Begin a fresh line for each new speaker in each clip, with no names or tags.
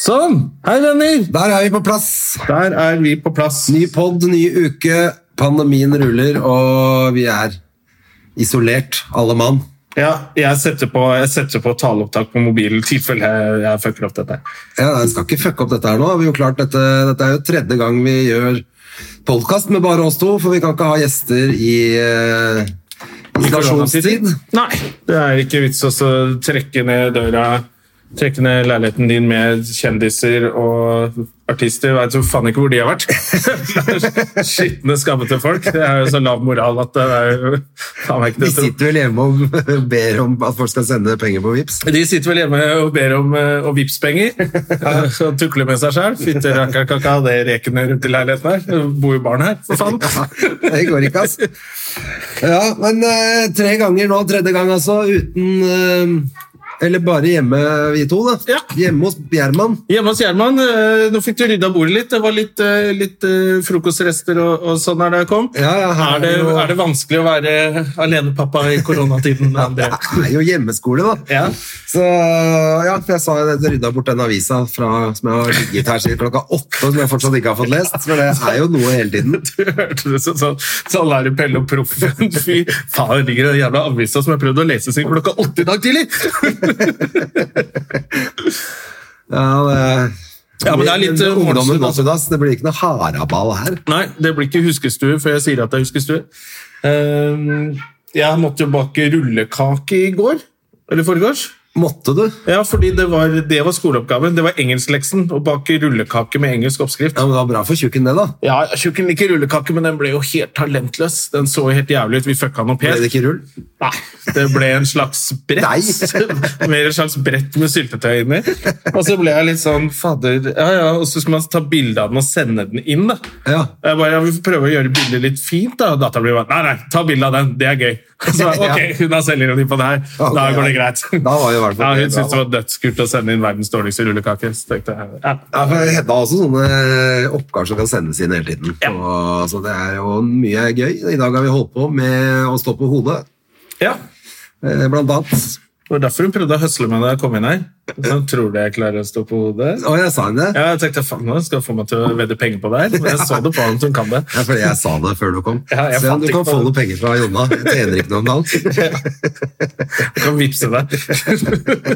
Sånn! Hei, venner!
Der er vi på plass.
Der er vi på plass.
Ny pod, ny uke. Pandemien ruller, og vi er isolert, alle mann.
Ja, jeg setter på, jeg setter på taleopptak på mobilen i tilfelle jeg, jeg fucker opp dette.
Ja, Jeg skal ikke fucke opp dette her nå. Vi har jo klart dette, dette er jo tredje gang vi gjør podkast med bare oss to, for vi kan ikke ha gjester i eh, isolasjonstid.
Nei, det er ikke vits å så trekke ned døra, trekke ned leiligheten din med kjendiser og artister. Jeg vet jo faen ikke hvor de har vært. Skitne, skammete folk. Det er jo så lav moral at det er jo faen meg ikke
Vi
det til-
sitter vel hjemme og ber om at folk skal sende penger på Vipps.
De sitter vel hjemme og ber om, eh, om Vipps-penger eh, og tukler med seg sjøl. Fytte rakker kaka, det rekene rundt i leiligheten her. Det Bor jo barn her, for faen.
Det går ikke, altså. Ja, men eh, tre ganger nå, tredje gang altså, uten eh, Eller bare hjemme, vi to, da.
Ja.
Hjemme hos Bjerman.
Hjemme hos Gjerman, eh, nå fikk du rydda bordet litt. Det var litt, eh, litt eh, frokostrester og, og sånn her da jeg kom.
Ja, ja, her
er,
er
det,
det jo-
er det vanskelig å være alenepappa i koronatiden, André?
Det er jo hjemmeskole, da.
Ja.
Så ja, for jeg sa jo det, jeg rydda bort den avisa fra, som jeg har ligget her siden klokka åtte, som jeg fortsatt ikke har fått lest. For det er jo noe hele tiden.
Du hørte det som sånn sånn er det Pelle og Proffen. Fy faen, ligger den jævla avisa som jeg prøvde å lese siden klokka åtte i dag tidlig!
Ja, det,
Ja, men det er litt, eh,
Ungdommen
morgenstund,
går
altså.
til dass. Det blir ikke noe haraball her.
Nei, det blir ikke huskestue før jeg sier at det er huskestue. Ehm, jeg måtte jo bake rullekake i går. Eller foregårs.
Måtte du?
Ja, fordi det var, det var skoleoppgaven. Det var engelskleksen. Å bake rullekake med engelsk oppskrift.
Ja, men Det var bra for tjukken, det, da.
Ja, Tjukken liker rullekake, men den ble jo helt talentløs. Den så jo helt jævlig ut. Vi fucka den opp
Ble det
helt.
ikke rull?
Nei, det ble en slags brett.
Nei.
Mer en slags brett med syltetøy inni. Og så ble jeg litt sånn fader, ja, ja, og så skulle man ta bilde av den og sende den inn. da.
Ja.
Jeg bare, jeg vil prøve å gjøre bildet litt fint, da. Og datteren blir bare, nei, nei, ta bilde av den, det er gøy. Og Så, ok, hun har selvironi på det her,
Ok,
da går det
ja.
greit.
Da var det i hvert fall det
ja, hun
bra,
syntes det var dødskult å sende inn verdens dårligste rullekake. Så tenkte jeg, ja.
Ja, for Hedda har også sånne eh, oppgaver som kan sendes inn hele tiden.
Ja.
Og, så det er jo mye gøy. I dag har vi holdt på med å stå på hodet,
ja.
eh, blant annet.
Det var derfor hun prøvde å høsle meg da jeg kom inn her. Sånn, tror du jeg klarer å stå på hodet?
Og jeg sa henne det.
Ja, jeg tenkte, faen, nå skal hun få meg til å vedde penger på det her. Men jeg så det på henne, at hun kan det.
Ja, fordi jeg sa det før du kom.
Ja, jeg
Se om
fant
du
ikke
kan
på
få
det.
noen penger fra Jonna. Jeg tjener ikke noe om dagen.
Jeg kan vipse deg.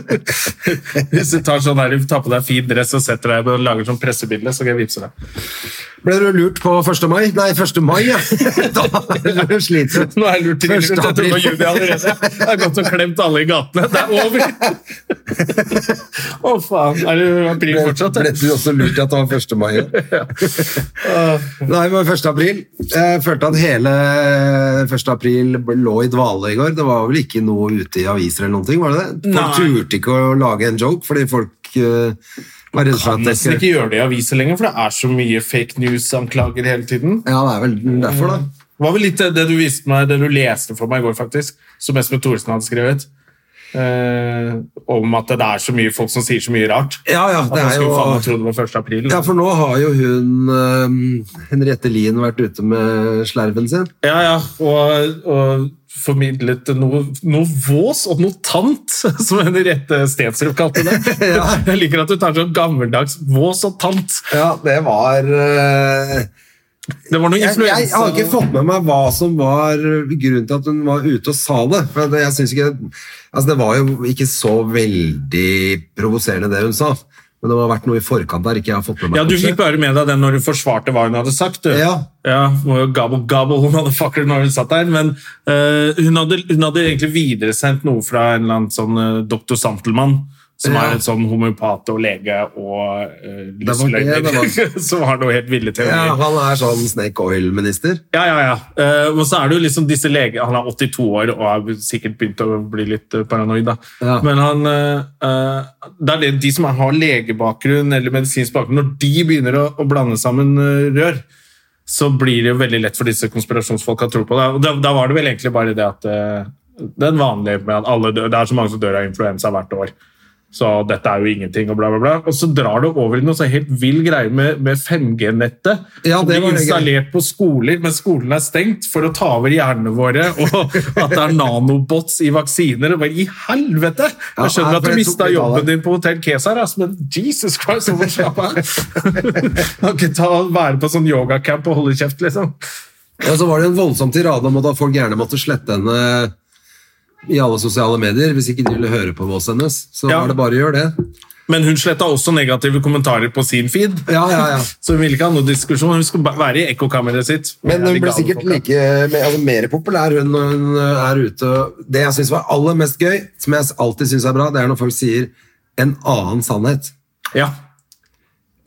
Hvis du tar, sånn her, tar på deg fin dress og setter deg og lager sånn pressebilde, så kan jeg vipse deg.
Ble du lurt på 1. mai? Nei, 1. mai, ja! Da er du slitsom.
Nå er jeg lurt til
Første
lurt. Jeg tror det var
april.
juni allerede. Jeg har gått og klemt alle i gatene. Det er over! Å, faen. Er det april fortsatt?
Ble
eller?
du også lurt til at det var 1. mai? Ja. Nei, men 1. april. Jeg følte at hele 1. april lå i dvale i går. Det var vel ikke noe ute i aviser eller noen ting, var det det?
Nei.
Folk turte ikke å lage en joke, fordi folk eh, var redde for
Kan
at det
nesten
skulle
ikke gjøre det i aviser lenger, for det er så mye fake news-anklager hele tiden.
Ja, det er vel derfor, da.
Det var vel litt det du viste meg, det du leste for meg i går, faktisk, som Espen Thoresen hadde skrevet, eh, om at det er så mye folk som sier så mye rart.
Ja, ja,
At
det
man
er
skulle faen meg
jo
tro det var 1. april.
Ja, for nå har jo hun øhm, Henriette Lien vært ute med slerven sin.
Ja, ja, og, og formidlet noe, noe vås og noe tant, som Henriette Stensrup kalte det.
Ja.
Jeg liker at du tar sånn gammeldags vås og tant.
Ja, det var øh,
Det var noe
jeg,
influensa.
jeg har ikke fått med meg hva som var grunnen til at hun var ute og sa det. For det, jeg synes ikke, altså det var jo ikke så veldig provoserende, det hun sa. Men det må ha vært noe i forkant der ikke jeg har fått med meg.
Ja, du
kanskje.
fikk bare med deg den når du forsvarte hva hun hadde sagt. Du.
Ja.
Ja, hun var jo gobble, gobble, motherfucker, når hun satt der. Men eh, hun, hadde, hun hadde egentlig videresendt noe fra en eller annen sånn eh, doktor Santelmann. Som
Ja.
er en sånn homeopat og lege og uh,
var det det
løsløgner som har noe helt ville
Ja,
teorier.
han er sånn snake oil-minister.
Ja, ja, ja. Eh, og så er det jo liksom disse lege... Han er 82 år og har sikkert begynt å bli litt eh, paranoid, da.
Ja.
Men han eh, eh, Det er det, de som har legebakgrunn eller medisinsk bakgrunn, når de begynner å, å blande sammen eh, rør, så blir det jo veldig lett for disse konspirasjonsfolka å tro på det. Og da, da var det vel egentlig bare det at eh, den vanlige med at alle dør, Det er så mange som dør av influensa hvert år. Så dette er jo ingenting, og bla, bla, bla. Og så drar det over i noe så helt vill greie med, med 5G-nettet.
Ja,
som
det var
blir
det greia.
installert på skoler, men skolen er stengt for å ta over hjernene våre. Og at det er nanobots i vaksiner. og Bare, I helvete!
Ja,
Jeg skjønner
nei,
at
for
du
jeg
mista
tok litt av
jobben
det.
din på Hotell Kesar, ass, men Jesus Christ, hvor slapp av! Kan ikke ta, være på sånn yogacamp og holde kjeft, liksom.
Ja, så var det en voldsom tirade om at folk gjerne måtte slette henne i alle sosiale medier hvis ikke de ville høre på oss hennes. Så
Ja.
var det bare å gjøre det.
Men hun sletta også negative kommentarer på sin feed.
Ja, ja, ja.
Så hun ville ikke ha noen diskusjon. Hun skulle bare være i ekkokammeret sitt.
Men hun
Jævlig
ble
gale
sikkert
folk, da.
like, me- altså, mer populær hun når hun eh, er ute. Det jeg syns var aller mest gøy, som jeg alltid syns er bra, det er når folk sier 'en annen sannhet'.
Ja.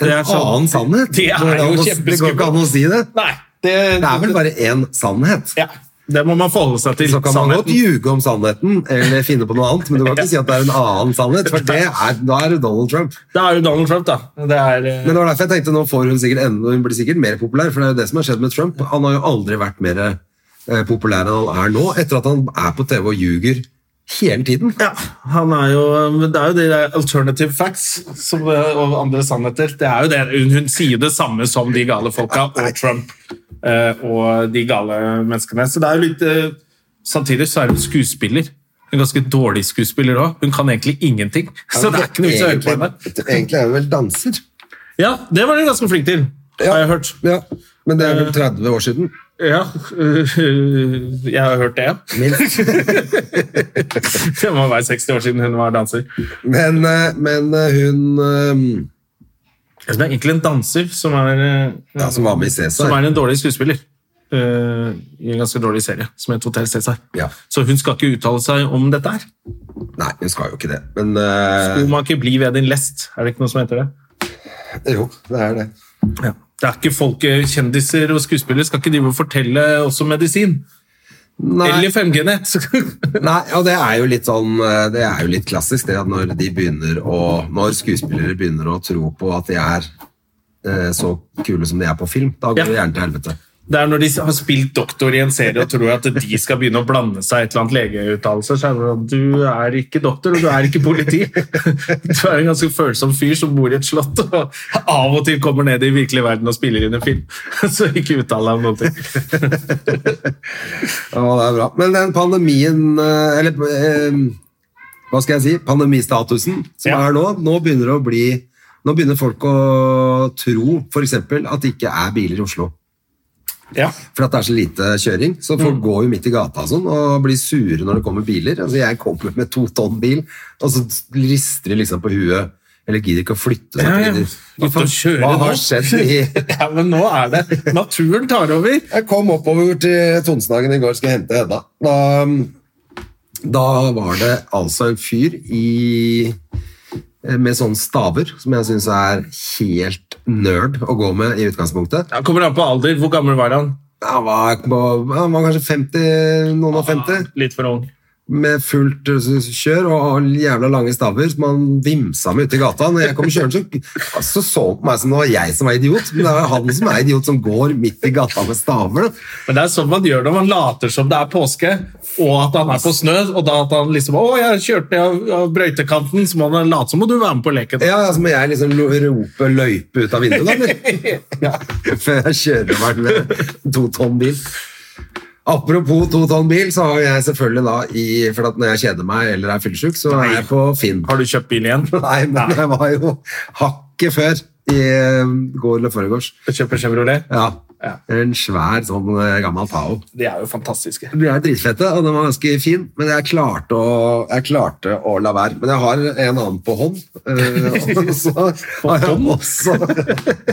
En
Det er så-
annen sannhet?
Det er
Går an
jo
å- Det går ikke an å si det.
Nei, det,
Det er vel bare én sannhet.
Ja, det må man forholde seg til.
Så kan man
Sannheten.
godt ljuge om sannheten eller finne på noe annet, men du kan ikke si at det er en annen sannhet, for det er, da er det Donald Trump.
Det er jo Donald Trump, da. Det er, eh,
Men det var derfor jeg tenkte nå får hun sikkert enda, hun blir sikkert mer populær, for det er jo det som har skjedd med Trump. Han har jo aldri vært mer eh, populær enn han er nå, etter at han er på TV og ljuger hele tiden.
ja, han er jo, men det er jo de der alternative facts som, eh, og andre sannheter. Det er jo det. Hun, hun sier det samme som de gale folka og Trump eh, og de gale menneskene. Så det er jo litt eh, Samtidig så er hun skuespiller. En ganske dårlig skuespiller òg. Hun kan egentlig ingenting. Så det er ikke noe vits i å høre på henne.
Egentlig- Egentlig er hun vel danser.
Ja, det var hun ganske flink til,
Ja.
har jeg hørt.
Ja, men det er vel 30 år siden.
Ja, jeg har hørt det, ja.
minst.
Det må være 60 år siden hun var danser.
Men, eh, men eh, hun eh,
Det er egentlig en danser som er, eh,
ja, som var med i
som
Cæsar
er en dårlig skuespiller. eh, I en ganske dårlig serie som heter Hotell Cæsar.
Ja.
Så hun skal ikke uttale seg om dette her.
Nei, hun skal jo ikke det. Men eh,
Hun må ikke bli ved din lest. Er det ikke noe som heter det?
jo, det er det.
Det er ikke folk, eh, Kjendiser og skuespillere skal ikke drive og fortelle også medisin.
Nei.
Eller 5G-nett.
Nei, og det er jo litt sånn eh, Det er jo litt klassisk det at når de begynner å Når skuespillere begynner å tro på at de er eh, så kule som de er på film, da går
Ja.
det gjerne til helvete.
Det er når de har spilt doktor i en serie og tror at de skal begynne å blande seg i et eller annet legeuttalelse, så er det sånn Du er ikke doktor, og du er ikke politi. Du er en ganske følsom fyr som bor i et slott og av og til kommer ned i virkelig verden og spiller inn en film. Så ikke uttal deg om noen ting.
Ja, det er bra. Men den pandemien eh, Eller eh, hva skal jeg si? Pandemistatusen som
Ja.
er nå, nå begynner det å bli Nå begynner folk å tro f.eks. at det ikke er biler i Oslo.
Ja.
For at det er så lite kjøring. Så folk
Mm.
går jo midt i gata og sånn, og blir sure når det kommer biler. Altså, jeg kommer med to tonn bil, og så rister de liksom på huet. Eller gidder ikke å flytte. seg
Ja,
fordi
ja.
de- Hva,
Ut og
faen-
kjøre
hva
nå.
har skjedd i
ja, men nå er det Naturen tar over.
Jeg kom oppover til Tonsenhagen i går skulle hente Hedda. Da, um, da var det altså en fyr i eh, med sånne staver, som jeg syns er helt nerd å gå med i utgangspunktet.
Han kommer an på alder. Hvor gammel var han?
Han var, på- han var kanskje 50, noen og 50.
Litt for ung.
med fullt eh, kjør og jævla lange staver som han vimsa med ute i gata. Når jeg kom kjørende, så, altså, så han på meg som det var jeg som var idiot, men det er jo han som er idiot som går midt i gata med staver. da.
Men det er sånn man gjør det. Man later som det er påske, og at han er på snø. Og da at han liksom 'Å, jeg kjørte ned av- av brøytekanten', så må han late som. Må du være med på leken?
Ja, ja, så må jeg liksom lo- rope løype ut av vinduet, da, eller? Ja, før jeg kjører meg med to tonn bil. Apropos to tonn bil, så har jeg selvfølgelig da i For at når jeg kjeder meg eller er fyllesyk, så er jeg på Finn.
Har du kjøpt bil igjen?
Nei, men jeg var jo hakket før i eh, går eller foregårs.
Kjøper Chevrolet?
Ja.
Ja.
En svær sånn eh, gammel Tao.
De er jo fantastiske.
De er dritfette, og den var ganske fin, men jeg klarte å, jeg klarte å la være. Men jeg har en annen på hånd. eh, og så har jeg også,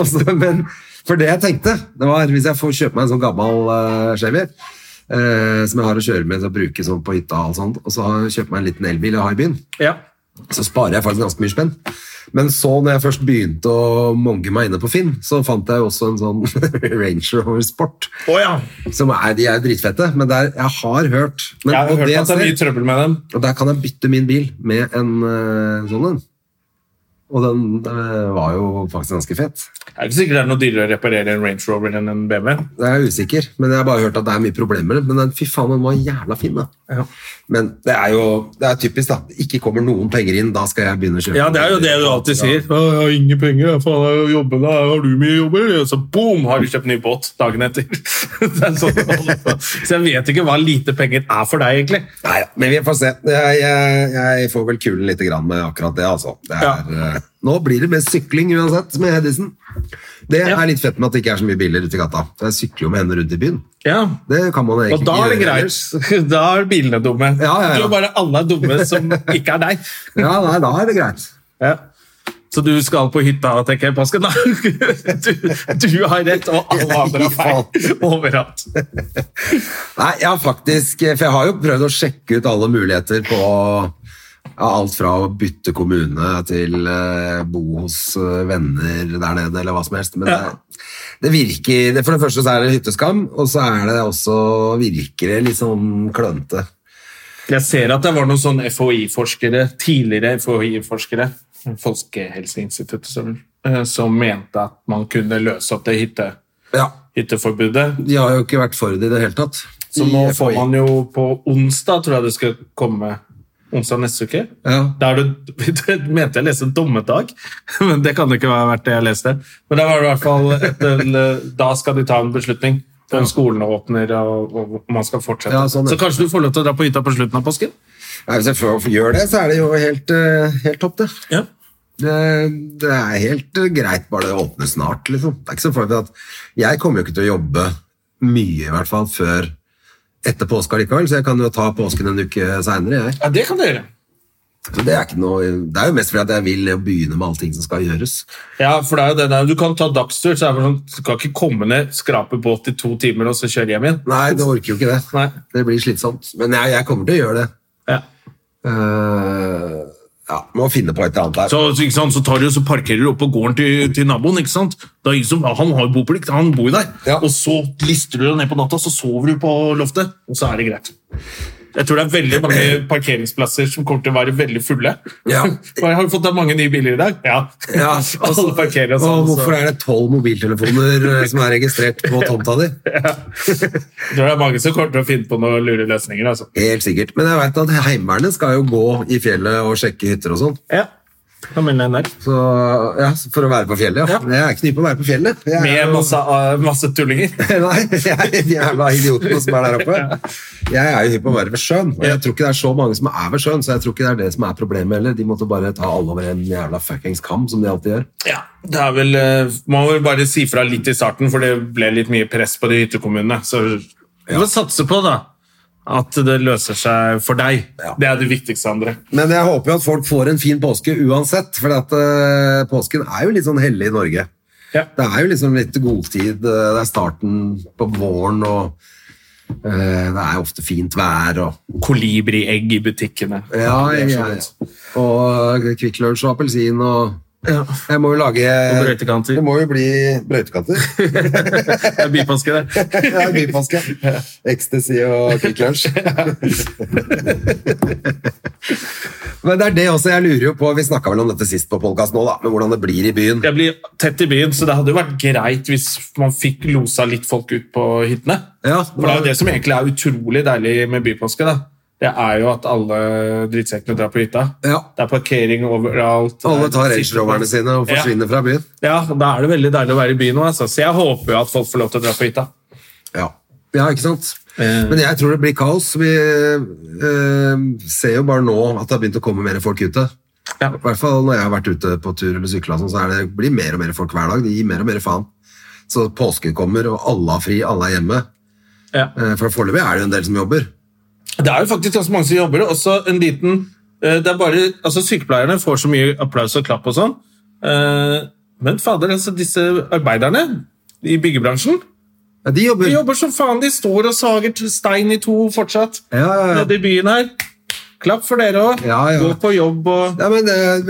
også Men for det jeg tenkte, det var hvis jeg får kjøpe meg en sånn gammel eh, Chevy eh, som jeg har å kjøre med og bruke sånn på hytta og alt sånt, og så har jeg kjøpt meg en liten elbil jeg har i byen.
Ja.
så sparer jeg faktisk ganske mye spenn. Men så når jeg først begynte å monge meg inne på Finn, så fant jeg jo også en sånn Range Rover Sport.
Å ja!
Som er, de er jo dritfette, men der, jeg har hørt men,
Jeg har
og
hørt
det
at det er
ser-
mye trøbbel med dem.
og der kan jeg bytte min bil med en eh, sånn en. Og den eh, var jo faktisk ganske fett.
Det er ikke sikkert det er noe dyrere å reparere en Range Rover enn en BMW.
Jeg er usikker, men jeg har bare hørt at det er mye problemer. med den. Men den, fy faen, den var jævla fin, da. Men det er jo det er typisk, da. Ikke kommer noen penger inn, da skal jeg begynne å kjøpe.
Ja, det er jo det du alltid sier. Å, 'Jeg har ingen penger, jeg faen, jeg jobber, da. har du mye jobber?' Og så boom, har du kjøpt ny båt dagen etter. det er sånn det holder på. Så jeg vet ikke hva lite penger er for deg, egentlig.
Nei, ja, men vi får se. Jeg, jeg, jeg får vel kulen litt grann med akkurat det, altså. Det er, eh, Nå blir det mer sykling uansett, med Hedisen. Det
Ja.
er litt fett med at det ikke er så mye biler ute i gata. Jeg sykler jo med henne rundt i byen.
Ja,
Det kan man egentlig
Og da er det
ikke gjøre
greit.
ellers.
Da er bilene dumme.
Ja, ja, ja.
Du er bare alle er dumme som ikke er deg.
Ja, nei, da er det greit.
Ja. Så du skal på hytta, tenker jeg, i påsken? Nei, Du, du har rett, og alle andre har feil. Overalt.
Nei, jeg har faktisk For jeg har jo prøvd å sjekke ut alle muligheter på ja, alt fra å bytte kommune til eh, bo hos eh, venner der nede, eller hva som helst. Men
Ja.
det, det virker det- For det første så er det hytteskam, og så er det også virker det litt sånn klønete.
Jeg ser at det var noen sånne FHI-forskere, tidligere FHI-forskere, Folkehelseinstituttet, som, eh, som mente at man kunne løse opp det hytte,
Ja.
hytteforbudet.
De har jo ikke vært for det i det hele tatt.
Så nå
I
får
FHI.
man jo på onsdag, tror jeg det skal komme, onsdag neste uke.
ja.
Da er det, jeg mente jeg leste dommedag, men det kan det ikke være verdt det jeg leste. Men da var det i hvert fall et, en- da skal de ta en beslutning. Om skolene åpner og, og man skal fortsette.
Ja, sånn, ja.
Så kanskje du får lov til å dra på hytta på slutten av påsken?
Nei, Hvis jeg får- gjør det, så er det jo helt, eh, helt topp, det.
Ja.
Det, det er helt greit, bare det åpner snart, liksom. Det er ikke så farlig at jeg kommer jo ikke til å jobbe mye, i hvert fall, før etter påske allikevel, så jeg kan jo ta påsken en uke seinere, jeg.
ja, det kan du gjøre.
Så det er ikke noe Det er jo mest fordi at jeg vil begynne med alle ting som skal gjøres.
Ja, for det er jo det der. Du kan ta dagstur, så er det bare sånn, du skal ikke komme ned, skrape båt i to timer og så kjøre hjem igjen.
Nei, det orker jo ikke det.
Nei.
Det blir slitsomt. Men jeg, jeg kommer til å gjøre det.
Ja.
Eh, ja, må finne på et eller annet der.
Så, så, ikke sant, så tar du, så parkerer du opp på gården til, til naboen. ikke sant? Da, er det ingen som- han har jo boplikt, han bor jo der.
Ja.
Og så lister du deg ned på natta, så sover du på loftet, og så er det greit. Jeg tror det er veldig mange parkeringsplasser som kommer til å være veldig fulle.
Ja.
Bare, har du fått deg mange nye biler i dag? Ja.
Ja, og så-
Alle parkerer og
og
sånn.
hvorfor
Så.
er det tolv mobiltelefoner eh, som er registrert på tomta di?
Jeg tror det er mange som kommer til å finne på noen lure løsninger. altså.
Helt sikkert. Men jeg vet at Heimevernet skal jo gå i fjellet og sjekke hytter og sånn.
Ja, da melder jeg den der.
Så, ja, for å være på fjellet, ja. Jeg er ikke ny på å være på fjellet. Jeg er
Med
jo-
masse, uh, masse tullinger.
Nei, jeg er de jævla idiotene som er der oppe. Jeg er jo hypp på å være ved sjøen, og jeg tror ikke det er så mange som er ved sjøen, så jeg tror ikke det er det som er problemet heller. De måtte bare ta alle over en jævla fuckings kam, som de alltid gjør.
Ja, det er vel eh, Man må vel bare si fra litt i starten, for det ble litt mye press på de hyttekommunene. Så vi får satse på da at det løser seg for deg.
Ja.
Det er det viktigste, André.
Men jeg håper jo at folk får en fin påske uansett, for at, eh, påsken er jo litt sånn hellig i Norge.
Ja.
Det er jo liksom litt godtid, eh, det er starten på våren, og eh, det er jo ofte fint vær, og
Kolibriegg i butikkene.
Ja,
Det
ja,
er så
ja.
godt.
Og Kvikk Lunsj og appelsin og Jeg må jo lage
Og brøytekanter.
Det må jo bli brøytekanter.
Det er bypaske, det.
ja, Bypaske. Ecstasy og Kvikk Lunsj. Men det er det også jeg lurer jo på. Vi snakka vel om dette sist på podkast nå, da. Men hvordan det blir i byen.
Jeg blir tett i byen, så det hadde jo vært greit hvis man fikk losa litt folk ut på hyttene.
Ja,
For det er jo det som egentlig er utrolig deilig med bypåske. da. Det er jo at alle drittsekkene drar på hytta.
Ja.
Det er parkering overalt.
Alle
Det er-
tar Range Roverne sine og
Ja.
forsvinner fra byen.
Ja, da er det veldig deilig å være i byen nå, altså. Så jeg håper jo at folk får lov til å dra på hytta.
Ja, Eh. ja ikke sant? Men jeg tror det blir kaos. Vi eh, ser jo bare nå at det har begynt å komme mer folk ute.
Ja.
I hvert fall når jeg har vært ute på tur eller sykla, og sånn, så er det, blir mer og mer folk hver dag. De gir mer og mer faen. Så påsken kommer, og alle har fri, alle er hjemme. Eh, For foreløpig er det jo en del som jobber.
Det er jo faktisk ganske mange som jobber, og også en liten eh, det er bare, altså Sykepleierne får så mye applaus og klapp og sånn, Eh, men fader, altså disse arbeiderne i byggebransjen
Ja, de jobber.
de jobber som faen. De står og sager til stein i to fortsatt
Ja, ja, ja.
nede i byen her. Klapp for dere òg.
Ja, ja.
Gå på jobb og
Ja, men det,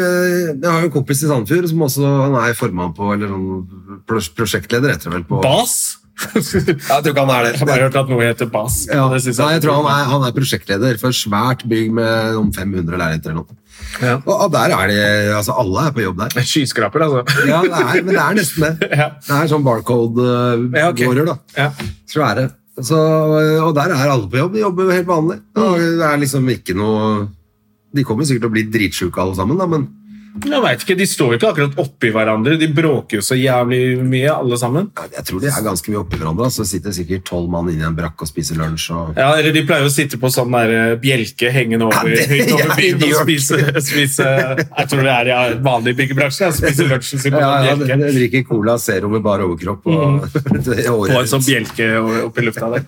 jeg har jo en kompis i Sandefjord som også han er formann på, eller sånn pros- prosjektleder etter hvert på
Bas!
Jeg tror ikke han er
Jeg har bare hørt at noe heter Bas.
Ja.
og det synes
Nei, jeg tror han er, han er prosjektleder for et svært bygg med om 500 leiligheter eller noe.
Ja.
Og, og der er de Altså, alle er på jobb der.
Skyskraper, altså.
Ja, det er, men det er nesten det.
Ja.
Det er sånn barcode-gårder,
Ja, ok.
da.
Ja.
Svære. Så, og der er alle på jobb. De jobber helt vanlig. Og det er liksom ikke noe De kommer sikkert til å bli dritsjuke alle sammen, da, men
Jeg vet ikke, De står jo ikke akkurat oppi hverandre. De bråker jo så jævlig mye, alle sammen.
jeg tror de er ganske mye oppi hverandre. da. Så sitter sikkert tolv mann inne i en brakk og spiser lunsj og
Ja, eller De pleier å sitte på sånn der eh, bjelke hengende over,
Ja, det-
høyt over
ja,
byen og
idiot.
spise, spise Jeg tror det er i vanlig byggebransje. Spise lunsjen sin på
Ja, ja,
sånn
de
bjelke.
de drikker cola zero med bare overkropp. Og, det er året
På en sånn
rundt.
bjelke o- oppi lufta der.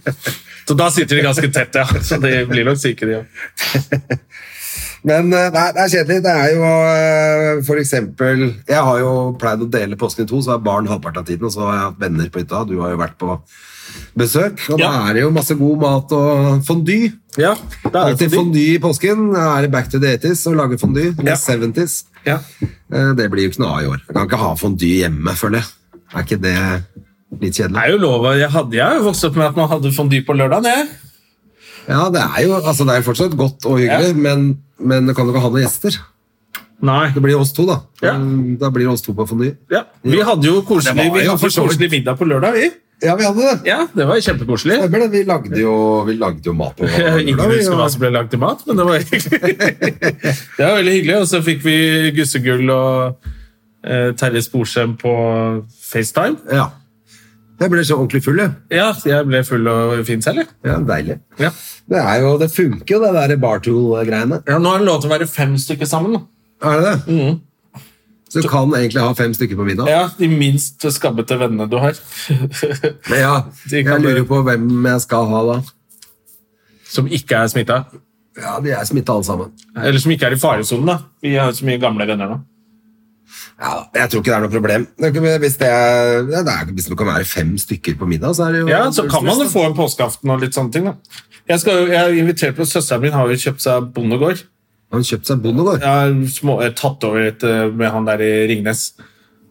Så da sitter de ganske tett, ja. Så de blir nok syke, de òg.
Men eh, nei, det er kjedelig. Det er jo eh, for eksempel Jeg har jo pleid å dele påsken i to, så har barn halvparten av tiden, og så har jeg hatt venner på hytta. Du har jo vært på besøk. Og da
Ja.
er det jo masse god mat og fondy.
Ja, da er det
Alltid
for de.
fondy i påsken. Da er det back to the 80s og lage fondy.
Ja.
Eller 70s.
Ja.
Eh, Det blir jo ikke noe av i år. Jeg kan ikke ha fondy hjemme, føler jeg. Er ikke det litt
Det
kjedelig?
er jo lov. Jeg hadde jeg har jo vokst opp med at man hadde fondy på lørdagen. jeg.
Ja, det er jo, altså, det er jo fortsatt godt og hyggelig, men, men du kan jo ikke ha noen gjester.
Nei.
Det blir oss to, da.
Ja.
Da blir det oss to på fondy.
Ja. Vi hadde jo koselig,
Det var
vi
jo
hadde
for så vidt-
koselig middag på lørdag, vi.
Ja, vi hadde det.
Ja, det var kjempekoselig.
Stemmer det. Eh, Vi lagde jo, vi lagde jo mat på
Ingen
lørdag, vi,
husker hva
og-
som ble lagd til mat, men det var hyggelig. det var veldig hyggelig, og så fikk vi Gussegull og eh, Terje Sporsem på FaceTime.
Ja. Jeg ble så ordentlig full, jeg.
Ja, jeg ble full og fin selv, jeg.
Ja, deilig.
Ja.
Det, er jo, det funker jo, det der bartool-greiene. Mm.
Ja, nå er det lov til å være fem stykker sammen. da.
Er det det? Så du kan egentlig ha fem stykker på middag?
Ja, De minst skabbete vennene du har.
Men ja,
De
jeg
kan
lurer
det.
jo på hvem jeg skal ha da.
som ikke er smitta.
Ja, De er smitta alle sammen.
Eller som ikke er i faresonen. da. Vi har jo så mye gamle venner nå.
Ja, Jeg tror ikke det er noe problem. Det er ikke- Hvis det, er, ja, det er, hvis det kan være fem stykker på middag, så er det jo
Ja, Så kan man jo få en påskeaften og litt sånne ting. da. Jeg, skal, jo- jeg har invitert på Søsteren min har jo kjøpt seg bondegård.
Han kjøpte seg bondegård.
Jeg har små, eh, tatt over et eh, med han der i Ringnes.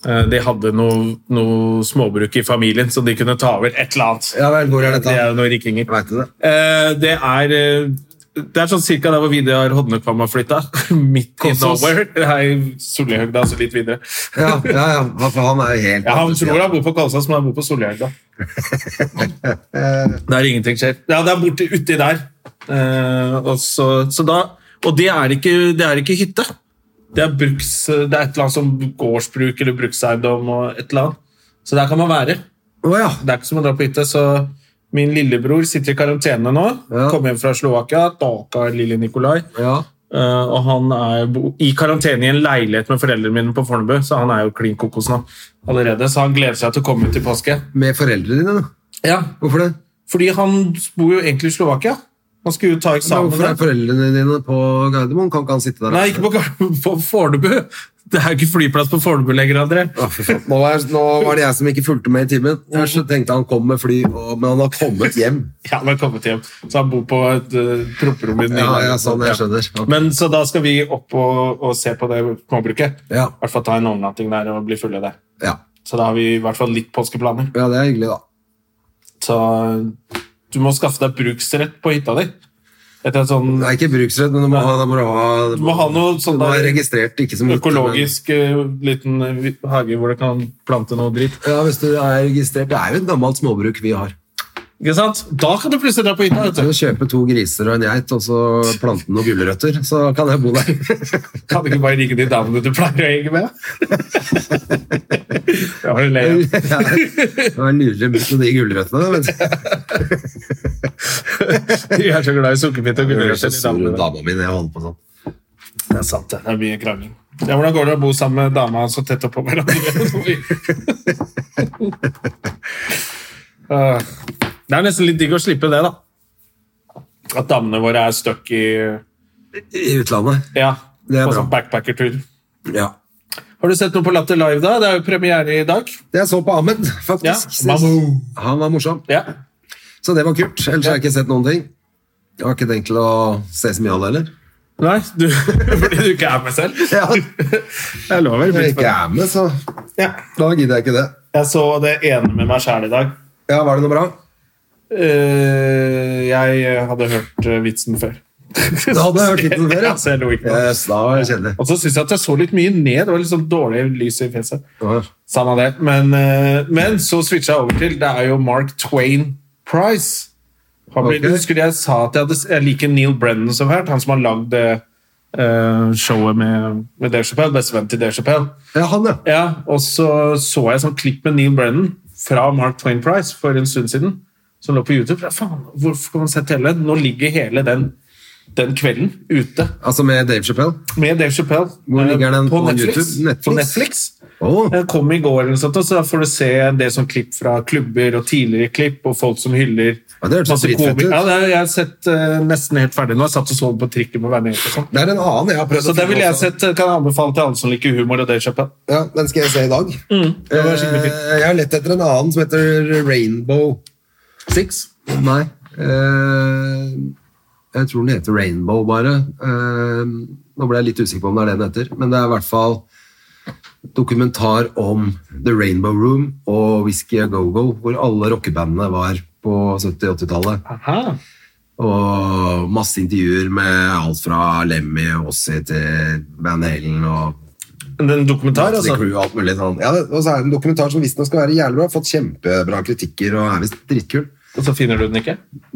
Eh, De hadde noe, noe småbruk i familien, så de kunne ta over et eller annet.
Ja vel, hvor er dette?
Det er jo noen rikinger.
Vet du det?
Eh, Det er, eh, det er sånn cirka der hvor Vidar Hodnekvam har flytta. Midt i
Kåssås.
nowhere. Her i Solihøgda, altså litt videre.
Ja, ja, ja. hva- For han er jo helt
Ja, han tror han bor på Kalsås, men han bor på Solihøgda. Der ingenting skjer. Ja, det er borte uti der. Eh, og, så, så da, og det er ikke, det er ikke hytte. Det er, bruks, det er et eller annet som gårdsbruk eller brukseiendom og et eller annet. Så der kan man være.
Å ja.
Det er ikke som å dra på hytte, så min lillebror sitter i karantene nå.
Ja.
Kom hjem fra Slovakia, daka lille Nikolai.
ja.
Eh, og han er bo- i karantene i en leilighet med foreldrene mine på Fornebu, så han er jo klin kokos nå allerede. Så han gleder seg til å komme ut i påske.
Med foreldrene dine, da?
Ja,
Hvorfor det?
Fordi han bor jo egentlig i Slovakia. Han skulle jo ta
Men
eksamen
hvorfor er
der.
foreldrene dine på Gardermoen? Kan ikke han sitte der?
Nei, ikke på, Gar- på Fornebu. Det er jo ikke flyplass på Fornebu lenger, André.
Å, fy faen. nå, var, nå var det jeg som ikke fulgte med i timen. Først så tenkte han kom med fly, og, men han har kommet hjem.
Ja, han har kommet hjem, så han bor på et uh, promperom i den nye
Ja, ja,
leiligheten.
sånn, jeg skjønner. Ok.
Men Så da skal vi opp og, og se på det småbruket.
Ja.
I hvert fall ta en overnatting der og bli fulle der.
Ja,
Så da har vi i hvert fall litt påskeplaner.
ja det er hyggelig, da.
Så du må skaffe deg bruksrett på hytta di. Etter en sånn,
Det er ikke bruksrett, men du må ha, da må du ha,
du må ha noe
du
sånn
må ha
der
registrert, ikke som
økologisk eh, liten eh, hage hvor du kan plante noe dritt.
Men, ja, hvis du er registrert. Det er jo et gammelt småbruk vi har.
Ikke sant? Da kan du plutselig dra på hytta.
Så
vet du.
kjøpe to griser og en geit, og så plante noen gulrøtter, så kan jeg bo der.
Kan du ikke bare ringe de damene du pleier å henge med? Ja, du ler.
Ja, Det var en lurer buss med de gulrøttene. vet du.
Jeg er så glad i sukkerbitt og
Jeg blir så
gulrøtter. de
sur med
damene.
dama mi når jeg holder på sånn. Det er sant, det.
Det er mye krangling. Ja, Hvordan går det å bo sammen med dama så tett oppå hverandre? Ah, det er nesten litt digg å slippe det, da. At damene våre er stuck i
I utlandet.
Ja,
Det er
på
bra.
sånn backpackertur.
Ja.
Har du sett noe på Latter Live, da? Det er jo premiere i dag.
Det jeg så på Ahmed,
Ja.
faktisk. sist.
Mammo.
Han var morsom.
Ja.
Så det var kult. Ellers har jeg ikke sett noen ting. Jeg har ikke tenkt til å se så mye av det heller.
Nei, du, fordi du ikke er med selv.
Ja,
Jeg lover.
Når jeg ikke er med, så da gidder jeg ikke det.
Jeg så det ene med meg sjæl i dag.
Ja, Var det noe bra?
Eh, jeg hadde hørt eh, vitsen før.
Du hadde hørt litt om det før, ja. Eh,
Ja, så jeg lo ikke nå.
Yes, da var det kjedelig.
Og så syns jeg at jeg så litt mye ned. Det var litt sånn dårlig lys i fjeset.
Ja.
Samme det. Men, eh, men så switcha jeg over til Det er jo Mark Twain Price. Han blir,
Ok.
Husker du jeg sa at jeg, hadde, jeg liker Neil Brennan så fælt? Han som har lagd det eh, showet med, med Dave Chappelle. Bestevenn til Dave Chappelle.
Ja, han, ja.
Ja, og så så jeg sånn klipp med Neil Brennan fra Mark Twain Price for en stund siden, som lå på YouTube. Ja, faen, hvorfor kan man sette hele den? Nå ligger hele den, den kvelden ute
Altså med Dave Chappelle.
med Dave Chappelle
Hvor ligger
eh,
den
på
på
Netflix.
YouTube? Netflix?
På Netflix.
Åh.
Den kom i går, eller noe sånt, og så da får du se en del sånn klipp fra klubber og tidligere klipp, og folk som hyller
Ja, det hørtes
masse
dritfett
komi-
ut.
Ja, det har jeg har sett eh, nesten helt ferdig nå. Jeg satt og så den på trikken på vei ned. hit og sånn.
Det er en annen jeg har prøvd
Så den vil jeg
også.
sett, kan jeg anbefale til alle som liker humor og Dave Chappelle.
Ja, Den skal jeg se i dag.
det var skikkelig
Eh,
fint.
jeg har lett etter en annen som heter Rainbow
Six.
Nei. eh, jeg tror den heter Rainbow, bare. Eh, nå ble jeg litt usikker på om det er det den heter, men det er i hvert fall dokumentar om The Rainbow Room og Whisky A Go-Go, hvor alle rockebandene var på 70-80-tallet.
Aha.
Og masse intervjuer med alt fra Lemmy og Ossie til Van Halen og
Den dokumentar,
Motley
altså.
Crue og alt mulig sånn. Ja, og så er det en dokumentar som visstnok skal være jævlig bra. Fått kjempebra kritikker og er visst dritkul.
Og så finner du den ikke?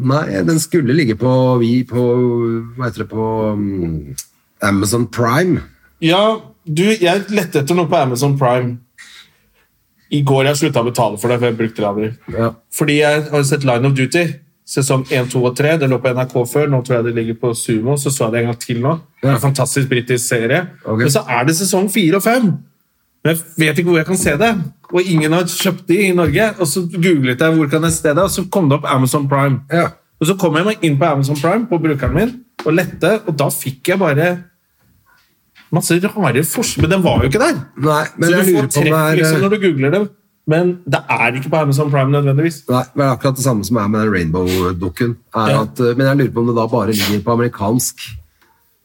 Nei, den skulle ligge på Vi på Hva heter det på mm, Amazon Prime.
Ja, du, jeg lette etter noe på Amazon Prime. I går jeg slutta å betale for det, for jeg brukte det aldri.
Ja.
Fordi jeg har sett Line of Duty, sesong 1, 2 og 3. Det lå på NRK før, nå tror jeg det ligger på Sumo. Så så jeg det en gang til nå. Det er
Ja.
en fantastisk britisk serie.
Ok.
Men så er det sesong 4 og 5. Men jeg vet ikke hvor jeg kan se det. Og ingen har kjøpt de i Norge. Og så googlet jeg hvor kan jeg se det, og så kom det opp Amazon Prime.
Ja.
Og så kom jeg meg inn på Amazon Prime på brukeren min og lette, og da fikk jeg bare masse rare forslag. Men den var jo ikke der!
Nei, men jeg
så du
lurer
får
på om
trekk
det er
liksom,
eh,
når du googler det. Men det er ikke på Amazon Prime nødvendigvis.
eh, Nei, men det er akkurat det samme som er med den Rainbow-dukken. er
Ja.
at, eh, Men jeg lurer på om det da bare ligger på amerikansk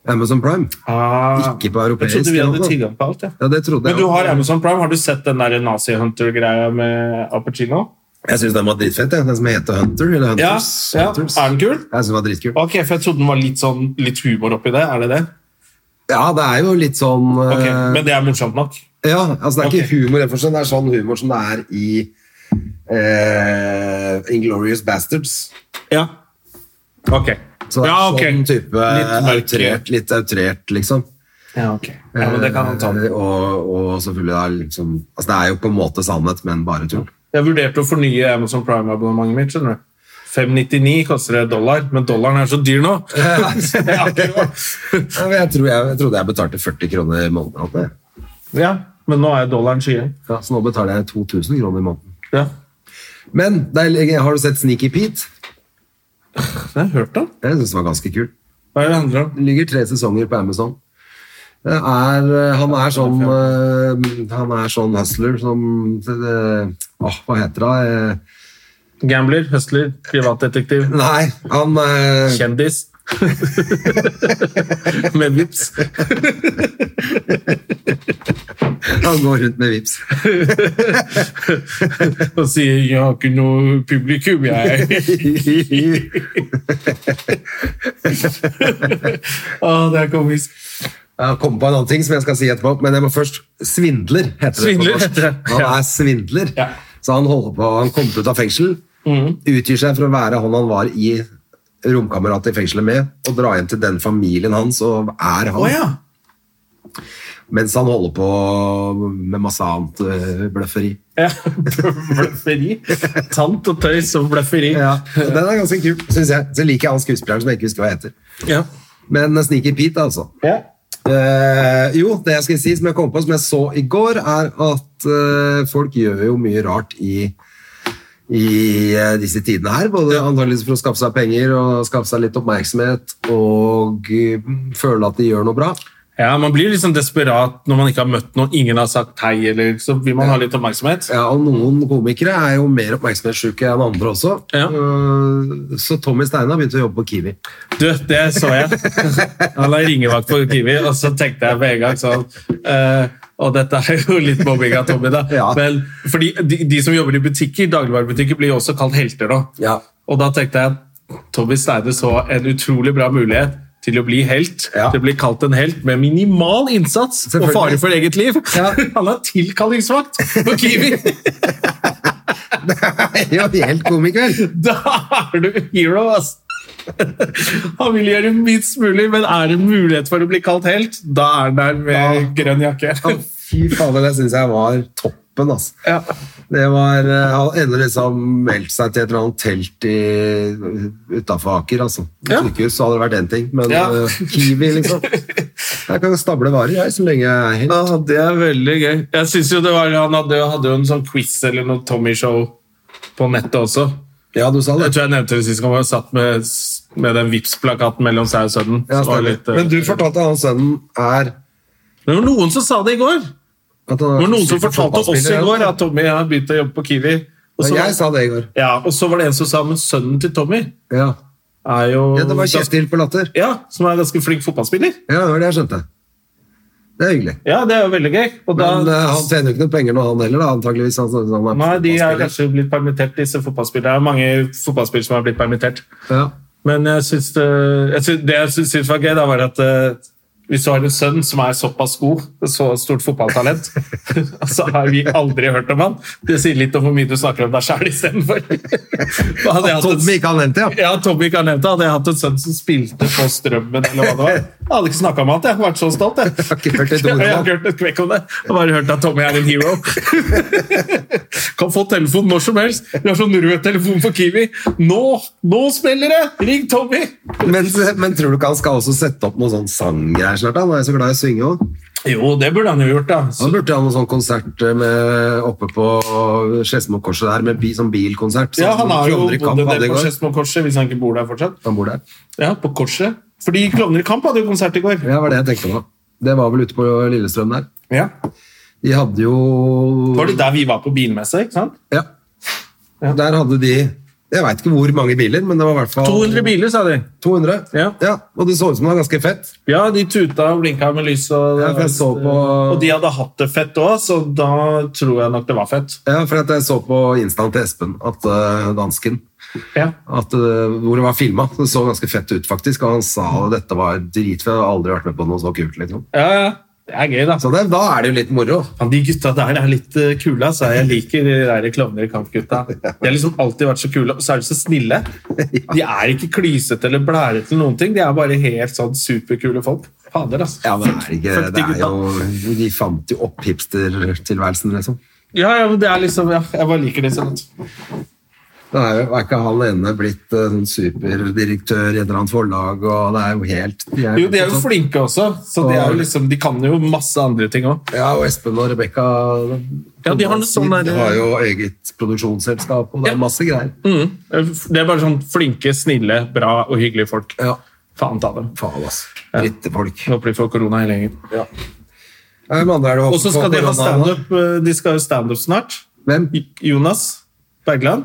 Amazon Prime. Ikke på europeisk,
Jeg trodde vi
eller
hadde
noe.
tilgang på alt. Ja.
Ja, det trodde
Ah. Men
jeg.
du
også.
har Amazon Prime. Har du sett den der Nazi Hunter-greia med Al Pacino?
Jeg syns den var dritfett, jeg. den som heter Hunter. Eller
Ja,
Hunters.
ja.
Hunters.
Er den kul?
Jeg synes den var dritkul.
Ok, for jeg trodde den var litt sånn litt humor oppi det. Er det det?
Ja, det er jo litt sånn eh,
Ok, Men det er morsomt nok.
Ja, altså det er
Ok.
ikke humor, i den forstand, det er sånn humor som det er i eh, Inglorious Bastards.
Ja. Ok.
Så det er
ja, ok.
sånn type
Litt mørk.
outrert, litt outrert, liksom.
Ja, ok. Ja, men det kan han ta.
Eh, Og, og selvfølgelig da liksom Altså, det er jo på en måte sannhet, men bare tull.
Jeg vurderte å fornye Amazon Prime-abonnementet mitt. skjønner du. 599 koster det dollar, men dollaren er så dyr nå. Så jeg har ikke råd.
Ja, men jeg, tror jeg, jeg trodde jeg betalte 40 kroner i måneden. alt det.
ja, men nå er dollaren skyhøy.
Ja, så nå betaler jeg 2000 kroner i måneden.
Ja.
Men det er, har du sett Sneaky Pete?
Det har jeg hørt om.
Jeg syns den var ganske kul.
Hva er det det handler om?
Det ligger tre sesonger på Amazon. Det er, han er sånn eh, Han er sånn hustler som eh, Åh, hva heter det? Eh,
Gambler, høsler, privatdetektiv,
Nei, han eh,
kjendis. Med vips.
Han går rundt med vips.
Og sier 'jeg har ikke noe publikum, jeg'. Å, det er komisk.
Jeg kom på en annen ting som jeg skal si etterpå, men jeg må først Svindler heter det.
Svindler
på norsk.
heter det,
Han
ja.
er svindler.
Ja. Mhm.
Så han holder på, han kom ut av fengsel, utgir seg for å være han han var i romkameratet i fengselet med, og drar hjem til den familien hans og er han.
Å ja.
Mens han holder på med masse annet eh, bløfferi.
ja. Bløfferi. Sant og tøys og bløfferi.
Så Den er ganske kul, syns jeg. Så liker jeg han skuespilleren som jeg ikke husker hva heter.
Ja.
Men Sneaky Pete, altså.
Ja.
Eh, jo, det jeg skal si som jeg kom på, som jeg så i går, er at eh, folk gjør jo mye rart i, i eh, disse tidene her. Både antageligvis for å skaffe seg penger og skaffe seg litt oppmerksomhet og eh, føle at de gjør noe bra.
Ja, Man blir liksom desperat når man ikke har møtt noen, ingen har sagt hei, eller så vil man ha litt oppmerksomhet.
Ja, og Noen komikere er jo mer oppmerksomhetssjuke enn andre også.
Ja.
Eh, Så Tommy Steinar begynte å jobbe på Kiwi.
Du, det så jeg. Han har ringevakt på Kiwi, og så tenkte jeg med en gang sånn eh, Og dette er jo litt mobbing av Tommy, da.
Ja.
Men, fordi de, de som jobber i butikker, dagligvarebutikker blir jo også kalt helter nå.
Ja.
Og da tenkte jeg at Tommy Steine så en utrolig bra mulighet til å bli helt.
Ja.
Til å bli kalt en helt med minimal innsats og
Selvfølgelig.
fare for eget liv.
Ja.
Han har tilkallingsvakt på Kiwi!
Ja, helt komiker.
Da er du hero, ass! Han vil gjøre minst mulig, men er det mulighet for å bli kalt helt, da er han der med grønn jakke.
Ja, Fy fader, det syns jeg var toppen, altså.
Ja.
Det var eh, Han ender liksom meldt seg til et eller annet telt utafor Aker, altså.
Ja.
Sykehus så hadde det vært én ting, men
Ja.
eh, Kiwi, liksom. Jeg kan jo stable varer, jeg, så lenge jeg er helt
Ah, det er veldig gøy. Jeg synes jo det var, Han hadde, hadde jo en sånn quiz eller noe Tommy-show på nettet også.
Ja, du sa
Jeg
det.
tror jeg nevnte det sist gang, hvor jeg satt med, med den Vipps-plakaten mellom seg og sønnen.
Ja,
Så var det
stemmer.
litt, eh,
Men du fortalte at han sønnen er
det var noen som sa det i går!
at
Det
han
var noen som fortalte oss i går at Tommy har begynt å jobbe på Kiwi. Og så,
Ja, Jeg sa det i går.
ja, og så var det en som sa men sønnen til Tommy
Ja,
er jo
ja Det var Kjetil på Latter.
Ja, som er en ganske flink fotballspiller.
Ja, det var det jeg skjønte. Det er hyggelig.
Ja, det er jo veldig gøy. Og da,
Men eh, han tjener jo ikke noe penger nå, han heller, da, antakeligvis. Han, han er
nei, de er
fotballspiller.
kanskje blitt permittert, disse fotballspillerne. Det er mange fotballspillere som har blitt permittert.
ja.
Men jeg syns det, jeg syns- det jeg syns- syns var gøy, da var at eh, hvis du har en sønn som er såpass god, så stort fotballtalent, så har vi aldri hørt om han. Det sier litt om hvor mye du snakker om deg sjæl istedenfor. Hadde jeg
At
hatt en
Tommy ikke har nevnt det, ja.
Ja, Tommy ikke har nevnt det. Hadde jeg hatt en sønn som spilte på Strømmen, eller hva det var, jeg hadde ikke snakka om han. Jeg hadde vært så stolt, jeg.
har ikke hørt et ord
Jeg
om
har
han.
ikke hørt et kvekk om det. Jeg har bare hørt at Tommy er en hero. Kan få telefon når som helst. Vi har sånn rød telefon for Kiwi. Nå! Nå spiller det! Ring Tommy!
Men, men tror du ikke han skal også sette opp noen sånn sanggreier snart? da? Han er jo så glad i å synge òg.
Jo, det burde han jo gjort, da.
Han
Så,
burde ha noen sånn konsert med, oppe på Skedsmokorset der, med bi, sånn bilkonsert. sånn
ja,
som
han har jo
Klovner i Kamp
bodd en
hadde
del
i
på
går.
Skedsmokorset, hvis han ikke bor der fortsatt.
Han bor der.
Ja, på Korset. Fordi Klovner i Kamp hadde jo konsert i går.
Ja, det var det jeg tenkte på. Det var vel ute på Lillestrøm der.
Ja.
De hadde jo
Var det der vi var på bilmesse? ikke sant?
Ja.
Ja.
Der hadde de Jeg veit ikke hvor mange biler, men det var i hvert fall
200 biler, sa de.
200.
Ja.
Og det så ut som det var ganske fett.
Ja, de tuta og blinka med lys. Og,
Ja, for jeg så på-
og de hadde hatt det fett òg, så da tror jeg nok det var fett.
Ja, For at jeg så på instaen til Espen, at eh, dansken
Ja.
at, eh, hvor det var filma. Det så ganske fett ut, faktisk. Og han sa at dette var dritfett. Jeg har aldri vært med på noe så kult. Liksom.
Ja, ja. Det er gøy, da.
Så det, da er det jo litt moro.
Faen, de gutta der er litt eh, kule. Altså. Jeg liker de der Klovner i Kamp-gutta. De har liksom alltid vært så kule, og så er de så snille. De er ikke klysete eller blærete, eller noen ting. de er bare helt sånn superkule folk. Fader, altså.
Ja, men det er, ikke,
Fuck de
det er
gutta.
jo De fant jo opp hipstertilværelsen, liksom.
Ja, ja, men det er liksom, ja, jeg bare liker det sånn.
Da er, jo, er ikke han ene blitt eh, sånn superdirektør i et eller annet forlag, og det er jo helt de
Jo, de er jo
sånn-
flinke også, så de, er jo liksom, de kan jo masse andre ting òg.
Ja, og Espen og Rebekka
Ja, de har noe sånn der-
De har jo eget produksjonsselskap, og det
Ja.
er masse greier.
Mm. Det er bare sånn flinke, snille, bra og hyggelige folk.
Ja.
Faen ta dem.
Faen, altså. Drittefolk.
Håper de får korona hele gjengen.
Ja, men andre er det
Og så
håper
skal
på
de ha
korona, da.
standup eh, De skal ha standup snart.
Hvem?
Jonas Bergland.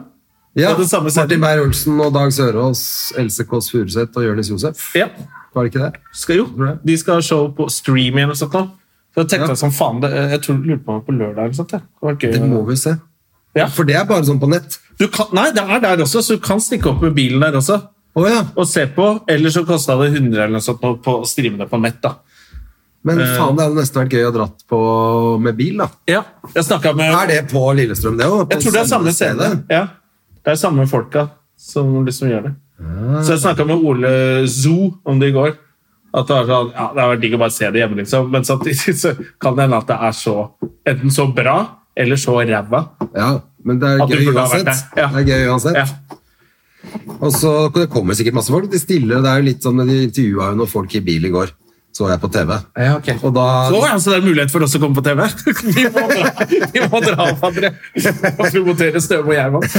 Ja,
På den samme
Martin
scenen.
Beyer-Olsen og Dag Sørås, Else Kåss Furuseth og Jonis Josef.
Ja,
Var det ikke det?
skal jo.
Tror jeg.
De skal ha show på stream igjen og sånt. nå. Så jeg tenkte
Ja.
som faen, det, jeg tror du lurte på meg på lørdag eller sånt. jeg. Det var gøy.
Det må vi se.
Ja.
For det er bare sånn på nett.
Du kan, nei, det er der også, så du kan stikke opp med bilen der også
Å ja.
og se på. Eller så kosta det 100 eller noe sånt på, på å streame det på nett. da.
Men
Eh.
faen, det hadde nesten vært gøy å dratt på med bil, da.
Ja, Jeg snakket med
Er det på Lillestrøm, det òg?
Jeg tror det er samme scene. Ja. Det er samme folka som liksom gjør det. Så jeg snakka med Ole Zoo om det i går. At det, er sånn, ja, det har vært digg å bare se det hjemme, liksom. Men samtidig så kan det hende at det er så enten så bra eller så ræva.
Ja, men det er
At du
gøy
burde ha
uansett.
vært der. Ja.
Det er gøy uansett.
Ja.
Og så det kommer sikkert masse folk. De stiller, det er jo litt sånn, de intervjua jo noen folk i bil i går, så jeg på TV.
Ja, ok.
Og da
Så, ja, så det er mulighet for oss å komme på TV? Vi må dra, vi må dra opp, André. Og promotere Støme og Gjerman.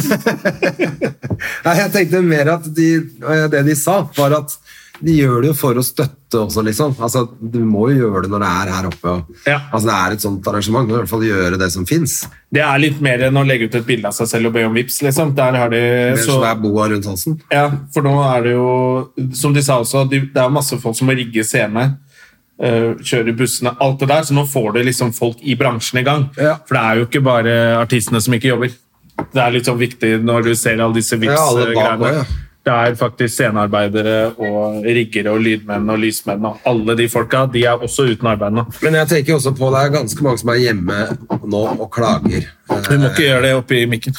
Nei, jeg tenkte mer at de, eh, det de sa, var at de gjør det jo for å støtte også, liksom. Altså, du må jo gjøre det når det er her oppe. Og,
Ja.
Altså, det er et sånt arrangement. Du må i hvert fall gjøre det som fins.
Det er litt mer enn å legge ut et bilde av seg selv og be om vips, liksom. Der har de
Ellers så...
så,
er boa rundt halsen.
Ja, for nå er det jo Som de sa også, de, det er masse folk som må rigge scene. eh, kjøre bussene, alt det der. Så nå får du liksom folk i bransjen i gang.
Ja.
For det er jo ikke bare artistene som ikke jobber. Det er litt sånn viktig når du ser alle disse
Ja, alle bak
Vipps-greiene.
også, ja.
Det er faktisk scenearbeidere og riggere og lydmenn og lysmenn og alle de folka. De er også uten arbeid nå.
Men jeg tenker jo også på det er ganske mange som er hjemme nå og klager. Eh,
Du må ikke gjøre det oppi mikken.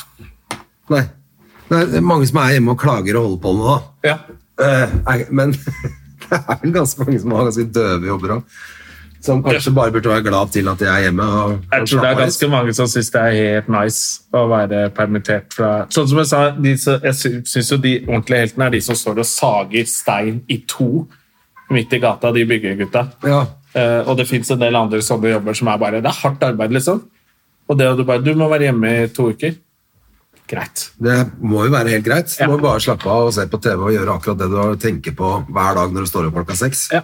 Nei. Nei, det er mange som er hjemme og klager og holder på med det. da.
Ja.
Eh, nei, men det er vel ganske mange som har ganske døve jobber òg. Som kanskje bare burde være glad til at de er hjemme. Og,
Jeg
og
tror det
slappe
er
av litt.
ganske mange som syns det er helt nice å være permittert fra Sånn som jeg sa, de, som- jeg sy- syns jo de ordentlige heltene er de som står og sager stein i to midt i gata, de byggegutta.
Ja.
Eh, og det fins en del andre sånne jobber som er bare Det er hardt arbeid, liksom. Og det at du bare Du må være hjemme i to uker. Greit.
Det må jo være helt greit. Du
Ja.
må bare slappe av og se på TV og gjøre akkurat det du har- tenker på hver dag når du står opp klokka seks.
Ja.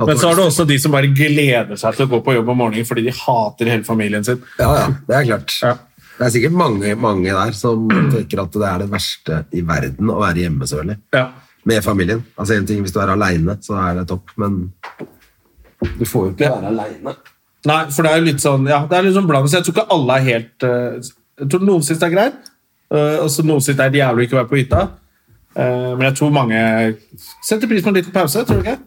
At
Men så er det også de som bare gleder seg til å gå på jobb om morgenen fordi de hater hele familien sin.
Ja, ja, det er klart.
Ja.
Det er sikkert mange, mange der som tenker at det er det verste i verden å være hjemme så veldig.
Ja.
Med familien. Altså en ting Hvis du er aleine, så er det topp, men du får jo ikke være aleine.
Nei, for det er jo litt sånn Ja, det er litt sånn blanding, så jeg tror ikke alle er helt eh, Jeg tror noen syns det er greit, eh, og så noen syns det er jævlig ikke å være på hytta. Eh, men jeg tror mange setter pris på en liten pause, tror du ikke?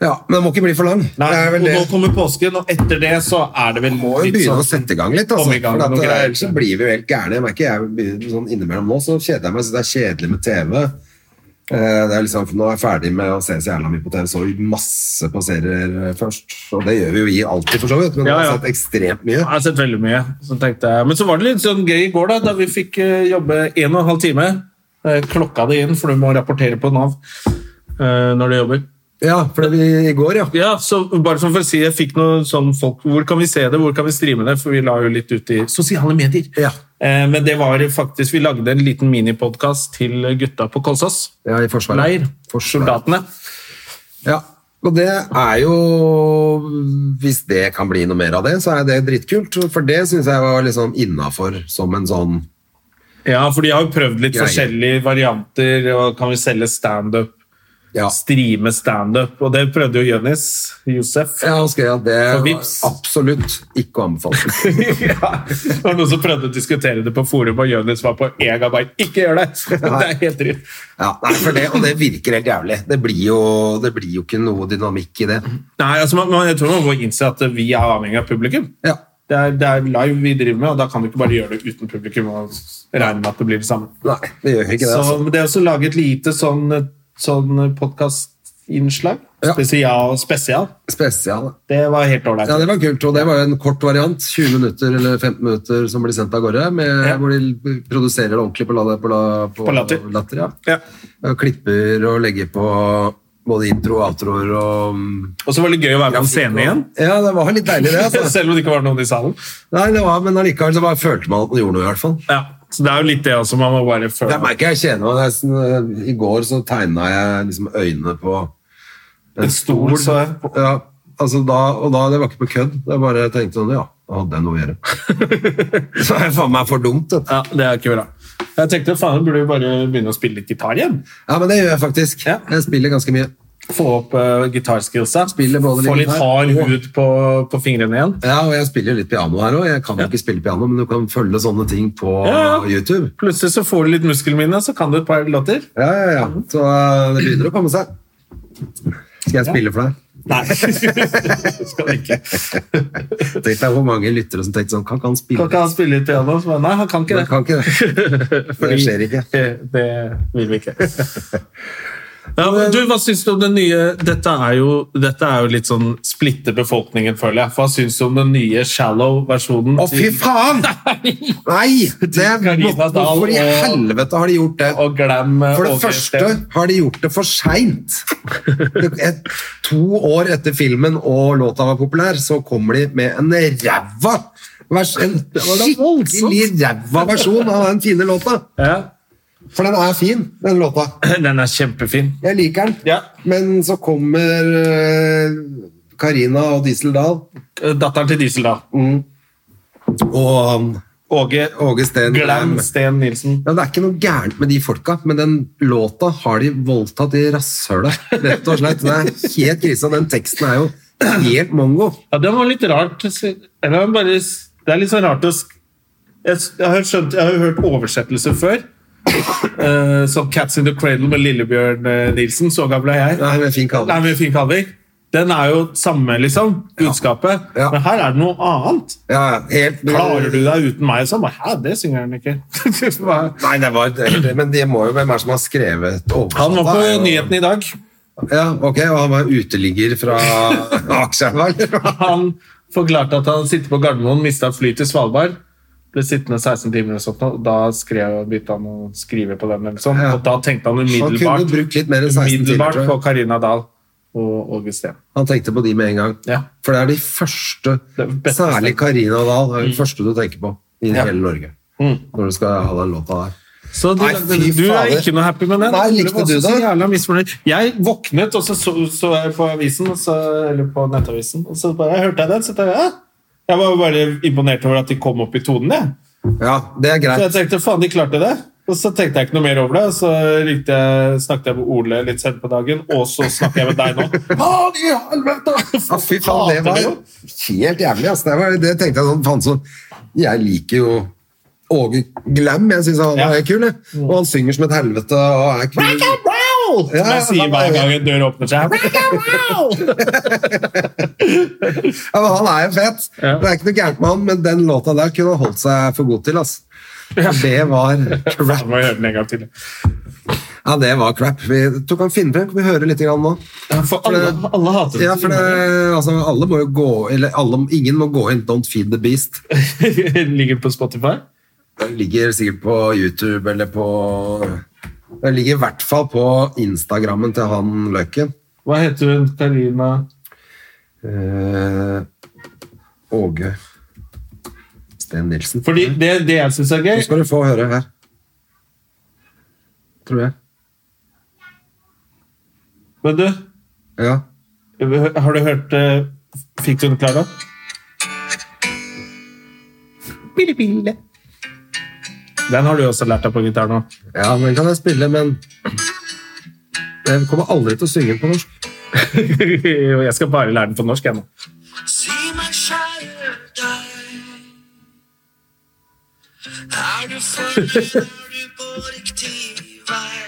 Ja, men den må ikke bli for lang.
Nei,
det er
og
vel det.
nå kommer påsken, og etter det så er det vel sånn-
Vi må jo begynne å sette i gang litt. Altså,
Komme i gang
for
med
at,
noen
eh,
greier.
Ellers så blir vi jo helt gærne. Jeg merker jeg begynner sånn innimellom nå, så kjeder jeg meg. Så det er kjedelig med TV. Eh, Det er liksom, for nå er jeg ferdig med å se så jævla mye på TV. Så vi masse på serier eh, først. Og det gjør vi jo vi alltid, for så vidt. Men
Ja,
jeg
ja.
har sett ekstremt mye.
Jeg har sett veldig mye. Så tenkte jeg. Men så var det litt sånn gøy i går, da da vi fikk eh, jobbe en og en halv time. Eh, Klokka det inn, for du må rapportere på Nav eh, når du jobber.
Ja, for det vi i går, ja.
Ja, så bare som for å si, jeg fikk noen sånn folk Hvor kan vi se det, hvor kan vi streame det? For vi la jo litt ut i sosiale medier.
Ja.
Eh, men det var faktisk Vi lagde en liten minipodkast til gutta på Kolsås.
ja I Forsvaret.
Leir.
Forsvaret.
Soldatene.
Ja. Og det er jo Hvis det kan bli noe mer av det, så er det dritkult. For det syns jeg var liksom innafor som en sånn
Ja, for de har jo prøvd litt
Greier.
forskjellige varianter. og Kan vi selge standup?
ja.
Streame standup? Og det prøvde jo Jonis Josef.
Ja, han skrev at det
For
var
Vipps.
absolutt ikke å anbefale.
ja. Det var noen som prøvde å diskutere det på forum, og Jonis var på en gang bare Ikke gjør det! det er helt dritt.
Ja, nei, for det, og det virker helt jævlig. Det blir jo, det blir jo ikke noe dynamikk i det.
Nei, altså, man, man, jeg tror man må innse at vi er avhengig av publikum.
Ja.
Det er, det er live vi driver med, og da kan vi ikke bare gjøre det uten publikum. og regne med at det blir det samme.
Nei, det gjør ikke det.
så
Altså.
men det er også laget lite sånn, sånn podkastinnslag.
Ja.
Spesial, spesial.
Spesial.
Det var helt ålreit.
Ja, det var kult, og det var jo en kort variant. 20 minutter eller 15 minutter som blir sendt av gårde. Med,
Ja.
Hvor de produserer det ordentlig på, la, på, la, på,
På latter.
latter ja.
Ja.
Og klipper og legger på både intro og outroer og mm,
Og så var det gøy å være på en scene igjen.
Ja, det var litt deilig, det. Altså.
Selv om det ikke var noen i salen.
Nei, det var, men allikevel så bare følte man at man gjorde noe, i hvert fall.
Ja. Så det er jo litt det også. Man må bare føle
Jeg merker jeg kjenner meg nesten øh, I går så tegna jeg liksom øynene på
En stol, så jeg.
ja, altså da, Og da, det var ikke på kødd. Jeg bare tenkte sånn Ja, da hadde jeg noe å gjøre. så er det faen meg for dumt, dette.
Ja, det er ikke bra. Jeg tenkte faen, burde vi bare begynne å spille litt gitar igjen?
Ja, men det gjør jeg faktisk.
Ja.
Jeg spiller ganske mye.
Få opp uh, gitarskillsa.
Spille både
Få
litt
litt
gitar
hard
og-
hud på, på fingrene igjen.
Ja, og jeg spiller jo litt piano her òg. Jeg kan jo
Ja.
ikke spille piano, men du kan følge sånne ting på
Ja, ja.
YouTube.
Plutselig så får du litt muskelminne, så kan du et par låter.
Ja, ja, ja. Så øh, det begynner å komme seg. Skal jeg spille for deg?
Nei, skal du ikke.
Tenk deg hvor mange lyttere som tenkte sånn Kan ikke han
Kan
spille?
ikke han spille litt piano? Så bare, nei, han kan ikke
Men
det.
Kan ikke det.
Fordi-
skjer ikke.
Det vil vi ikke. Ja, men du, Hva syns du om den nye Dette er jo, dette er jo litt sånn splitter befolkningen, føler jeg. Hva syns du om den nye shallow-versjonen?
Å, fy faen! Nei! Det,
Karina
hvorfor
Dahl
hvorfor i
og-
helvete har de gjort det?
Og glam eh,
For det første har de gjort det for seint. To år etter filmen og låta var populær, så kommer de med en ræva vers, En
var da voldsomt.
skikkelig ræva versjon av den fine låta.
ja.
For den er fin, den låta.
Den er kjempefin.
Jeg liker den.
Ja.
Men så kommer eh, Karina og Diesel Dahl
Datteren til Diesel, da.
og han
Åge
Åge Steen eh,
Glam
Glam.
Sten Nilsen.
Ja, det er ikke noe gærent med de folka, men den låta har de voldtatt i rasshølet. Rett og slett. Det er helt krise. og Den teksten er jo helt mongo.
Ja, det var litt rart. Eller han bare, det er litt sånn rart å sk- Jeg, s- jeg, har, skjønt, jeg har jo hørt oversettelser før. Eh, som 'Cats in the Cradle' med Lillebjørn eh, Nilsen. Så gammel er jeg.
Nei, men fin kalling.
Nei, men fin kalling. Den er jo samme, liksom. Budskapet.
Ja.
Men her er det noe annet.
Ja, helt...
Klarer du deg uten meg? Sånn, Hæ, det synger han ikke. han
Nei, det var helt- Men det må jo hvem er det som har skrevet oversatt?
var på
da? Er jo-
nyheten i dag.
Ja, ok, og han var uteligger fra Akerselva, eller? hva?
Han forklarte at han sitter på Gardermoen, mista fly til Svalbard. Ble sittende 16 timer, og sånt, og da skrev, begynte han å skrive på den. Eller sånn.
Ja.
Og da tenkte han
Han kunne
umiddelbart,
brukt litt mer enn 16 timer,
umiddelbart
tror
på
jeg.
Karina Dahl og Åge Steen.
Han tenkte på de med en gang.
Ja.
For det er de første,
Det er beste
særlig
stedet. Mm.
Karina Dahl, er de første du tenker på i hele Norge. Når du skal ha den låta der.
Så du,
Nei,
lagde-
fy
du er
fader.
ikke noe happy med den?
Nei, likte
var
du det?
også Så jævla misfornøyd. Jeg våknet, og så så, så jeg på avisen, og så, eller på nettavisen, og så bare, jeg hørte jeg den, så tenkte jeg, ja. Jeg var bare imponert over at de kom opp i tonen, jeg.
Ja, det er
Så
greit.
jeg tenkte, faen, de klarte det. Og så tenkte jeg ikke noe mer over det, og så ringte jeg, snakket jeg med Ole litt sent på dagen, og så snakker jeg med deg nå.
Faen i helvete! Ja, fy faen, det var
Hater
helt jævlig. ass. Det, var, det tenkte jeg sånn, faen så Jeg liker jo Åge Glam, jeg syns han
Ja.
er kul. jeg. Og han synger som et helvete og er kul.
Wow! Som
Ja,
jeg sier
da-
hver gang en dør åpner seg. Wow!
Ja, men han er jo fet.
Ja.
Det er ikke noe gærent med han, men den låta der kunne han holdt seg for god til. ass. For Det var
Faen,
crap.
må jeg høre den en gang til.
Ja, det var crap. Vi tok han finne frem, kan vi høre litt grann nå?
For alle, alle hater
Ja, for det, altså, alle må jo gå, eller alle, Ingen må gå inn Don't Feed the Beast.
Ligger den på Spotify?
Den ligger sikkert på YouTube eller på Den ligger i hvert fall på Instagrammen til han Løkken.
Hva heter hun? Karina?
Eh, Åge Sten Nilsen.
Fordi det, det jeg synes er
Nå
gøy,
skal du få høre her. Tror jeg.
men du,
Ja.
har du hørt, eh, fikk du den klar da? Bille-bille. Den har du også lært deg på gitar nå.
Ja, den kan jeg spille, men jeg kommer aldri til å synge den på norsk.
jeg skal bare lære den på norsk, jeg nå.
Si meg, kjære deg, er du fornøyd når du på riktig vei,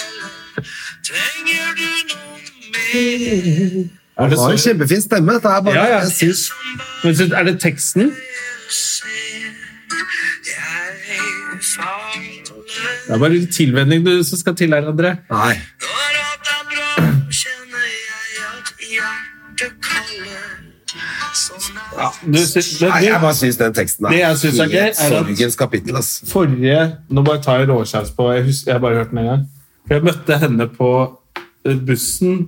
eller trenger du noe mer?
Er det
Det var en
så,
kjempefin stemme. Det er bare,
Ja, ja.
Jeg syns
men så er det teksten?
Jeg faller
Det er bare litt tilvenning du som skal til her, André.
Nei.
Når alt er bra, kjenner jeg at hjertet kaller. Sånn er
Ja, du, sy- det,
Nei, jeg
det,
bare syns den teksten
Det
er,
jeg synes er gøy,
helt
er at-
sorgens kapittel, ass.
forrige Nå bare tar jeg råskjærs på Jeg, husker, jeg har bare hørt den en gang. For Jeg møtte henne på eh, bussen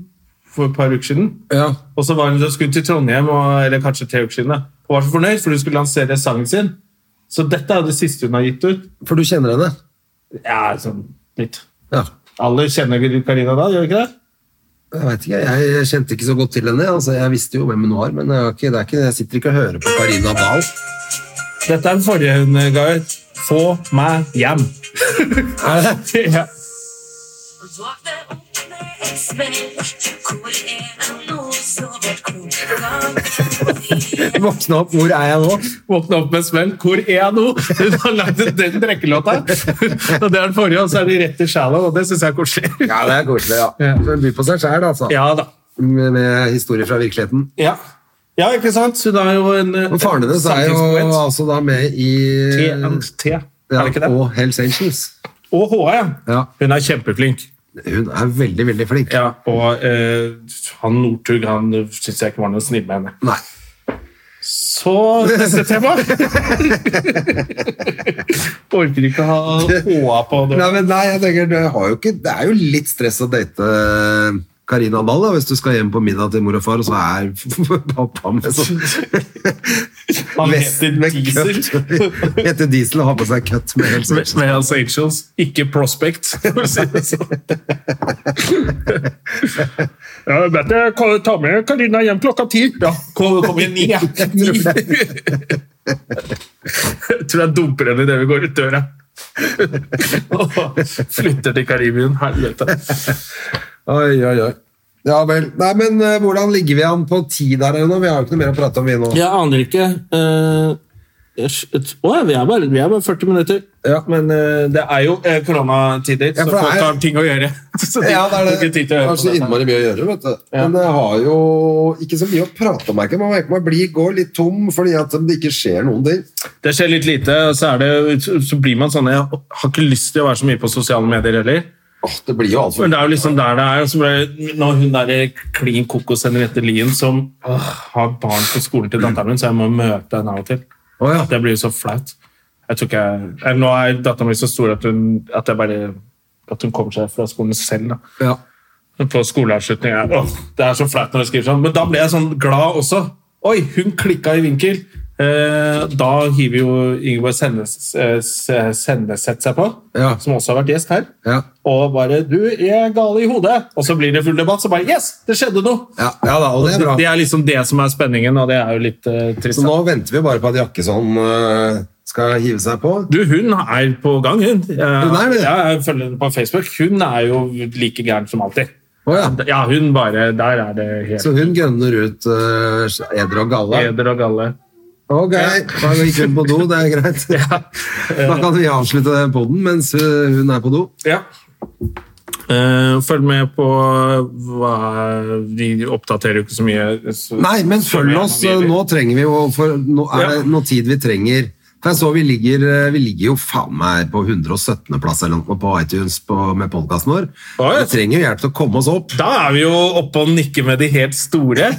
for et par uker siden.
Ja.
Og så var hun, så skulle hun til Trondheim, og, eller kanskje tre uker siden, da. og var så fornøyd, for hun skulle lansere sangen sin. Så dette er det siste hun har gitt ut.
For du kjenner henne?
Ja, sånn litt.
Ja.
Alle kjenner Karina da, gjør de ikke det?
Jeg vet ikke, jeg, jeg kjente ikke så godt til henne. Altså, jeg visste jo hvem hun var, men jeg, har ikke, det er ikke, jeg sitter ikke og hører på Karina Dahl.
Dette er den forrige hun ga ut. Få meg hjem. er det? Ja.
Våkne opp med et smell. Hvor er det nå så vårt kloke gang?
Våkne opp, hvor er jeg nå?
Våkne opp med et smell. Hvor er jeg nå? Hun har lagd den drekkelåta. Og det er den forrige, og så er de rett til shallow, og det syns jeg er koselig.
Ja, det er koselig, ja.
Ja.
Så Hun byr på seg sjæl, altså.
Ja da.
Med, med historier fra virkeligheten.
Ja, ja ikke sant? Hun er jo en eh,
Og faren hennes er jo
samtidspoet.
altså da med i
TNT, er det ikke det?
Og Hells Angels.
Og HA, ja.
Ja.
Hun er kjempeflink.
Hun er veldig, veldig flink.
Ja, og eh, han Northug han syns jeg ikke var noe snill med henne.
Nei.
Så neste tema! Orker ikke ha HA på det.
Nei, men nei, jeg tenker, det, har jo ikke, det er jo litt stress å date eh, Karina Dahl da, hvis du skal hjem på middag til mor og far, og så er pappa med sånn.
Han
Vesten
heter
med
Diesel.
cut. Heter Diesel og har på seg cut med Hells
Med
Angels.
med Hells Angels, ikke Prospect. for å si det sånn. ja, vet du, kan- ta med Karina hjem klokka ti. Ja, kom, kom igjen, ni. Ni. Jeg tror jeg dumper henne idet vi går ut døra. Og flytter til Karibien. Helvete.
Oi, oi, oi. Ja vel. Nei, men eh, hvordan ligger vi an på ti der ennå? Vi har jo ikke noe mer å prate om, vi nå.
Jeg aner ikke. eh, jeg s- et- Å, ja, vi er bare, vi er bare 40 minutter.
Ja.
Men eh, det er jo eh, koronatider,
Ja,
så
for det
folk
er-
har ting å gjøre. Så de
Ja, det er
har ikke
det. Det
tid til å
er
høre
så
på dette.
innmari mye å gjøre, vet du. Men jeg har jo ikke så mye å prate om, merker jeg. Man merker man blir, går litt tom fordi at det ikke skjer noen ting.
Det skjer litt lite, og så, er det, så blir man sånn Jeg har ikke lyst til å være så mye på sosiale medier heller.
Åh, det blir jo alt for
Men det er jo liksom der det er. Og så ble det- når hun der eh, klin kokos Henriette Lien som åh, har barn på skolen til datteren min, så jeg må møte henne av og til.
Å, ja.
Det blir jo så flaut. Jeg tror ikke jeg, jeg, nå er datteren min så stor at hun, at jeg bare, at hun kommer seg fra skolen selv. da.
Ja.
på skoleavslutning. Jeg, åh, det er så flaut når jeg skriver sånn. Men da ble jeg sånn glad også. Oi, hun klikka i vinkel! Eh, da hiver jo Ingeborg Sennes- eh, S- Senneset seg på,
Ja.
som også har vært gjest her.
Ja.
Og bare 'Du er gal i hodet!' Og så blir det full debatt. Så bare 'Yes, det skjedde noe!'
Ja, ja da, og det er bra.
Det er liksom det som er spenningen, og det er jo litt eh, trist.
Så nå venter vi bare på at Jakkesson eh, skal hive seg på.
Du, hun er på gang, hun. Eh,
er det?
ja, Jeg følger henne på Facebook. Hun er jo like gæren som alltid.
Å, ja.
Ja, hun bare Der er det helt
Så hun gønner ut uh, eder og galle.
heder og galle.
Ok, da gikk hun på do, det er greit. Da kan vi avslutte den podden mens eh, hun er på do.
Ja. Eh, følg med på hva Vi oppdaterer jo ikke så mye. Så,
Nei, men følg oss. eh, Nå trenger vi jo For nå er det
Ja.
noe tid vi trenger. For jeg så vi ligger, eh, vi ligger jo faen meg på 117. plass eller noe på iTunes på, med podkasten vår.
Oi.
Vi trenger jo hjelp til å komme oss opp.
Da er vi jo oppe og nikker med de helt store.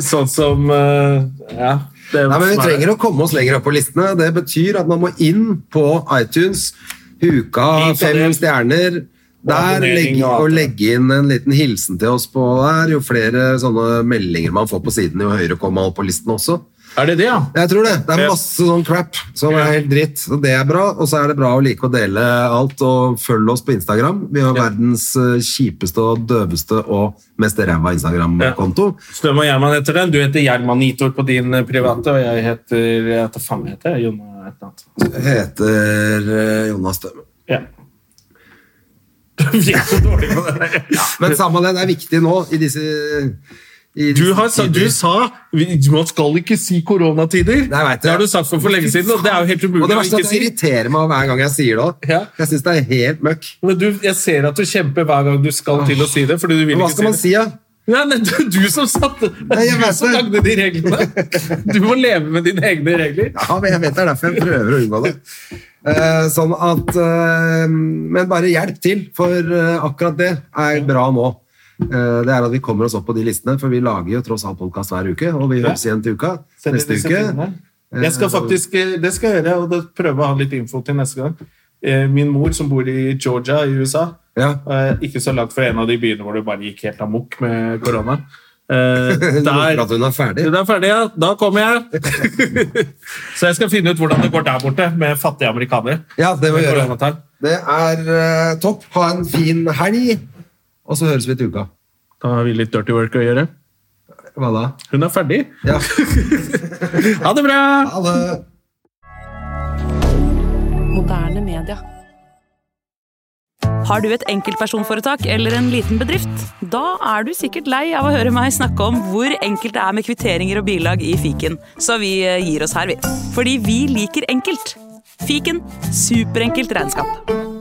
sånn som eh, Ja. Det,
Nei, men Vi trenger å komme oss lenger opp på listene. Det betyr at man må inn på iTunes, huka
Lik og
fem
del.
stjerner. Der
abonnering
legge,
og alt
og
det.
legge inn en liten hilsen til oss på der. Jo flere sånne meldinger man får på siden, jo høyere kommer man opp på listen også.
Er det det, ja?
Jeg tror det. Det
Ja.
er masse sånn crap som
Ja.
er helt dritt. Så det er bra. Og så er det bra å like å dele alt, og følg oss på Instagram. Vi har
Ja.
verdens eh, kjipeste og døveste og mest ræva Instagram-konto.
Støm og Gjerman heter den. Du heter Gjerman Nitor på din eh, private, og jeg heter Jeg heter faen jeg heter jeg, Jonna et eller annet.
Heter eh, Jonas Døme.
Ja. Vi er så dårlige på det.
Men samme det, det er viktig nå i disse i
Du,
disse
har, sa- du
tider.
sa vi- man skal ikke si koronatider.
Nei, jeg vet det.
det har du sagt for for lenge siden, og det er jo helt umulig
Og det
å
verste
ikke
er at det
si.
irriterer meg hver gang jeg sier det. også.
Ja.
Jeg syns det er helt møkk.
Men du, jeg ser at du kjemper hver gang du skal til å si det. fordi du vil
Men hva
ikke
skal man
si det.
si, da?
Nei, nei, det er du som satte det
Nei, jeg
er du
vet
som
det.
lagde de reglene. Du må leve med dine egne regler.
Ja, men jeg vet det er derfor jeg prøver å unngå det. Eh, sånn at eh, Men bare hjelp til, for eh, akkurat det er bra nå. Eh, det er at vi kommer oss opp på de listene, for vi lager jo tross alt podkast hver uke. Og vi høres igjen til uka.
Send
Neste
disse
uke.
tingene. Jeg skal faktisk, eh, Det skal jeg gjøre, og da prøve å ha litt info til neste gang. Eh, Min mor, som bor i Georgia i USA,
Ja.
eh, ikke så langt fra en av de byene hvor det bare gikk helt amok med korona eh,
Der.
Der
At hun er ferdig.
Det er ferdig, ja. Da kommer jeg. så jeg skal finne ut hvordan det går der borte med fattige amerikanere.
Ja, det må vi
Med
gjøre.
koronatall.
Det er eh, topp. Ha en fin helg, og så høres vi til uka.
Da har vi litt dirty work å gjøre.
Hva da?
Hun er ferdig.
Ja.
Ha det bra!
Ha det!
Moderne media. Har du et enkeltpersonforetak eller en liten bedrift? Da er du sikkert lei av å høre meg snakke om hvor enkelt det er med kvitteringer og bilag i fiken, så vi eh, gir oss her, vi. Fordi vi liker enkelt. Fiken superenkelt regnskap.